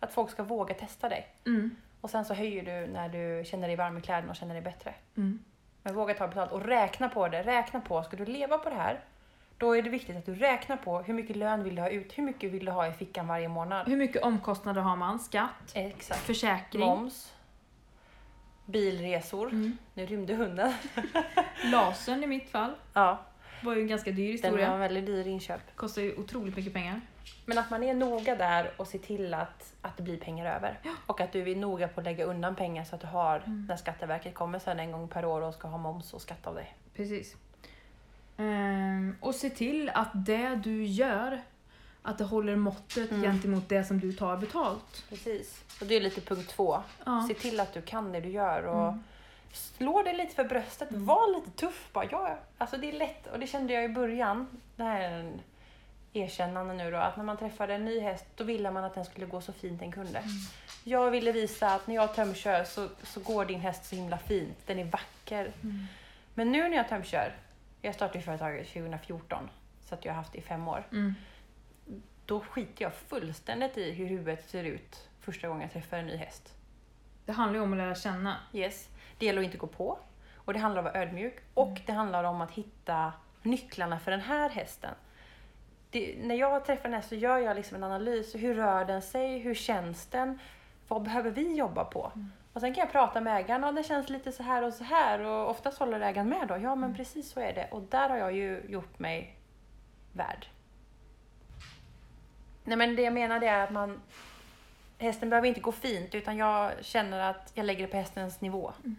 Speaker 1: att folk ska våga testa dig.
Speaker 2: Mm.
Speaker 1: Och sen så höjer du när du känner dig varm i kläderna och känner dig bättre.
Speaker 2: Mm.
Speaker 1: Men våga ta betalt och räkna på det. Räkna på, ska du leva på det här? Då är det viktigt att du räknar på hur mycket lön vill du ha ut? Hur mycket vill du ha i fickan varje månad?
Speaker 2: Hur mycket omkostnader har man? Skatt?
Speaker 1: Exakt.
Speaker 2: Försäkring?
Speaker 1: Moms. Bilresor.
Speaker 2: Mm.
Speaker 1: Nu rymde hunden.
Speaker 2: Lasern i mitt fall
Speaker 1: Ja,
Speaker 2: var ju en ganska dyr
Speaker 1: den var
Speaker 2: historia.
Speaker 1: en väldigt dyr inköp.
Speaker 2: Kostar ju otroligt mycket pengar.
Speaker 1: Men att man är noga där och ser till att, att det blir pengar över. Och att du är noga på att lägga undan pengar så att du har
Speaker 2: Mm.
Speaker 1: när Skatteverket kommer sen en gång per år och ska ha moms och skatt av dig.
Speaker 2: Precis. Ehm, och se till att det du gör, att det håller måttet
Speaker 1: Mm.
Speaker 2: gentemot det som du tar betalt.
Speaker 1: Precis. Och det är lite punkt två.
Speaker 2: Ja.
Speaker 1: Se till att du kan det du gör och slå dig lite för bröstet. Var lite tuff bara. Ja, alltså det är lätt och det kände jag i början. Det här är en erkännande nu då. Att när man träffade en ny häst då ville man att den skulle gå så fint den kunde. Jag ville visa att när jag tömkör så, så går din häst så himla fint. Den är vacker.
Speaker 2: Mm.
Speaker 1: Men nu när jag tömkör, jag startade ju företaget 2014 så att jag har haft det i fem år.
Speaker 2: Mm.
Speaker 1: Då skiter jag fullständigt i hur huvudet ser ut första gången jag träffar en ny häst.
Speaker 2: Det handlar ju om att lära känna.
Speaker 1: Yes. Det gäller att inte gå på. Och det handlar om att vara ödmjuk. Och det handlar om att hitta nycklarna för den här hästen. Det, när jag träffar en häst så gör jag liksom en analys. Hur rör den sig? Hur känns den? Vad behöver vi jobba på? Och sen kan jag prata med ägaren. Ja, det känns lite så här och så här. Och oftast håller ägaren med då. Ja, men precis så är det. Och där har jag ju gjort mig värd. Nej, men det jag menar det är att man Hästen behöver inte gå fint utan jag känner att jag lägger det på hästens nivå.
Speaker 2: Mm.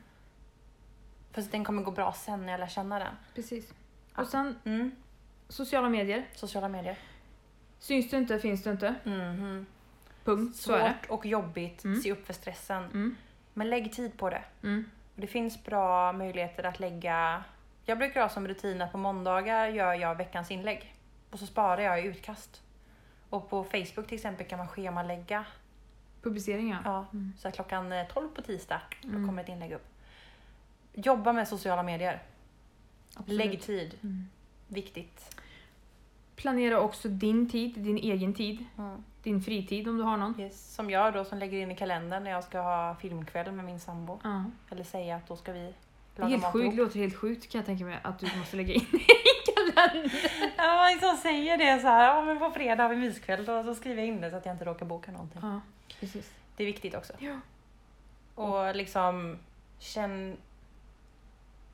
Speaker 1: För den kommer gå bra sen när jag lär känna den.
Speaker 2: Precis.
Speaker 1: Ja.
Speaker 2: Och sen
Speaker 1: Mm.
Speaker 2: sociala medier.
Speaker 1: Sociala medier.
Speaker 2: Syns du inte finns du inte.
Speaker 1: Mhm.
Speaker 2: Punkt. Mm-hmm. Så är det.
Speaker 1: Svårt och jobbigt,
Speaker 2: Mm.
Speaker 1: se upp för stressen.
Speaker 2: Mm.
Speaker 1: Men lägg tid på det.
Speaker 2: Mm.
Speaker 1: Och Det finns bra möjligheter att lägga... Jag brukar ha som rutin att på måndagar gör jag veckans inlägg. Och så sparar jag i utkast. Och på Facebook till exempel kan man schemalägga
Speaker 2: Publiceringar.
Speaker 1: Ja,
Speaker 2: Mm.
Speaker 1: så här klockan eh, 12 på tisdag då
Speaker 2: Mm.
Speaker 1: kommer ett inlägg upp. Jobba med sociala medier.
Speaker 2: Absolut.
Speaker 1: Lägg tid.
Speaker 2: Mm.
Speaker 1: Viktigt.
Speaker 2: Planera också din tid, din egen tid,
Speaker 1: Mm.
Speaker 2: din fritid om du har någon.
Speaker 1: Yes. Som jag då som lägger in i kalendern när jag ska ha filmkväll med min sambo.
Speaker 2: Ja.
Speaker 1: Eller säga att då ska vi
Speaker 2: Det är
Speaker 1: laga
Speaker 2: helt
Speaker 1: mat
Speaker 2: sjukt,
Speaker 1: ihop.
Speaker 2: det låter helt sjukt kan jag tänka mig att du måste lägga in i kalendern.
Speaker 1: Ja, men som säger det så här, ja men på fredag har vi myskväll då, så skriver jag in det så att jag inte råkar boka någonting.
Speaker 2: Ja, precis.
Speaker 1: Det är viktigt också.
Speaker 2: Ja.
Speaker 1: Och liksom känn...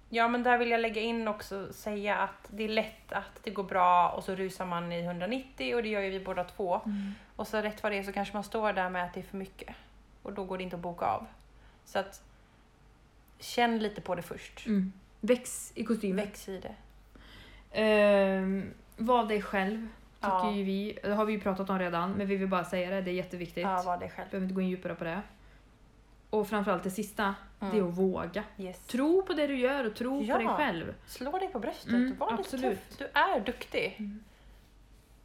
Speaker 1: Ja men där vill jag lägga in också säga att det är lätt att det går bra och så rusar man i 190 och det gör ju vi båda två.
Speaker 2: Mm.
Speaker 1: Och så rätt vad det är så kanske man står där med att det är för mycket och då går det inte att boka av. Så att känn lite på det först.
Speaker 2: Mm. Väx i kostymen.
Speaker 1: Väx i det.
Speaker 2: Ehm, var dig själv, tycker
Speaker 1: Ja.
Speaker 2: ju vi. Det har vi ju pratat om redan, men vi vill bara säga det, det är jätteviktigt.
Speaker 1: Ja, var dig själv.
Speaker 2: Behöver inte gå in djupare på det. Och framförallt det sista, det är
Speaker 1: Mm.
Speaker 2: att våga.
Speaker 1: Yes.
Speaker 2: Tro på det du gör och tro
Speaker 1: Ja.
Speaker 2: på dig själv.
Speaker 1: Slå dig på bröstet,
Speaker 2: Mm,
Speaker 1: var lite
Speaker 2: absolut.
Speaker 1: tuff. Du är duktig.
Speaker 2: Mm.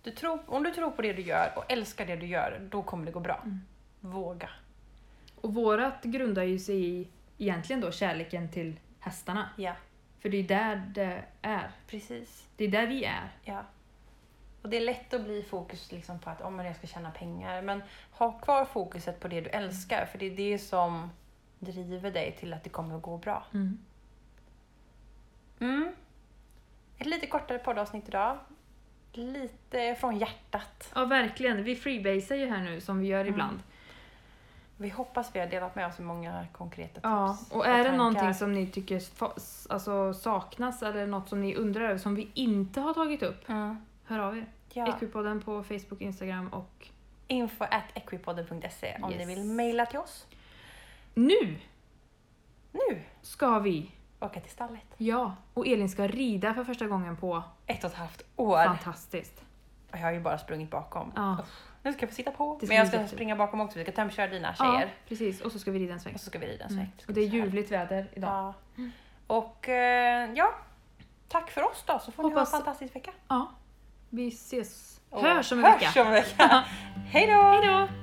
Speaker 1: Du tror, om du tror på det du gör och älskar det du gör, då kommer det gå bra.
Speaker 2: Mm.
Speaker 1: Våga.
Speaker 2: Och vårat grundar ju sig i, egentligen då, kärleken till hästarna.
Speaker 1: Ja,
Speaker 2: För det är där det är.
Speaker 1: precis.
Speaker 2: Det är där vi är.
Speaker 1: Ja. Och det är lätt att bli fokus liksom på att om jag ska tjäna pengar, men ha kvar fokuset på det du
Speaker 2: Mm.
Speaker 1: älskar, för det är det som driver dig till att det kommer att gå bra. Mm. Ett lite kortare poddavsnitt idag. Lite från hjärtat.
Speaker 2: Ja, verkligen. Vi freebasar ju här nu som vi
Speaker 1: Mm.
Speaker 2: gör ibland.
Speaker 1: Vi hoppas vi har delat med oss av många konkreta tips.
Speaker 2: Ja, och är det
Speaker 1: tankar.
Speaker 2: någonting som ni tycker fa- s- alltså, saknas eller något som ni undrar över som vi inte har tagit upp,
Speaker 1: Mm.
Speaker 2: hör av er.
Speaker 1: Ja.
Speaker 2: Equipodden på Facebook, Instagram och
Speaker 1: Info at equipodden.se om ni
Speaker 2: Yes.
Speaker 1: vill mejla till oss.
Speaker 2: nu
Speaker 1: Nu
Speaker 2: ska vi,
Speaker 1: åka till stallet.
Speaker 2: ja, och Elin ska rida för första gången på
Speaker 1: Ett och ett halvt år.
Speaker 2: Fantastiskt.
Speaker 1: Och jag har ju bara sprungit bakom.
Speaker 2: Ja,
Speaker 1: Nu ska jag få sitta på.
Speaker 2: Det ska
Speaker 1: Men jag
Speaker 2: bli
Speaker 1: ska
Speaker 2: jättekul.
Speaker 1: springa bakom också. Vi ska tömköra dina
Speaker 2: ja
Speaker 1: tjejer.
Speaker 2: precis. Och så ska vi rida en sväng.
Speaker 1: Och så ska vi rida en sväng.
Speaker 2: Mm.
Speaker 1: Ska
Speaker 2: Och
Speaker 1: vi
Speaker 2: det är
Speaker 1: så här.
Speaker 2: ljuvligt väder idag. Ja.
Speaker 1: Ja. Och eh, ja, tack för oss då. Så får ni ha en
Speaker 2: Hoppas-
Speaker 1: fantastisk vecka.
Speaker 2: Vi ses,
Speaker 1: Och
Speaker 2: hörs om en vecka.
Speaker 1: Hörs om en vecka. Hej då!
Speaker 2: Hejdå!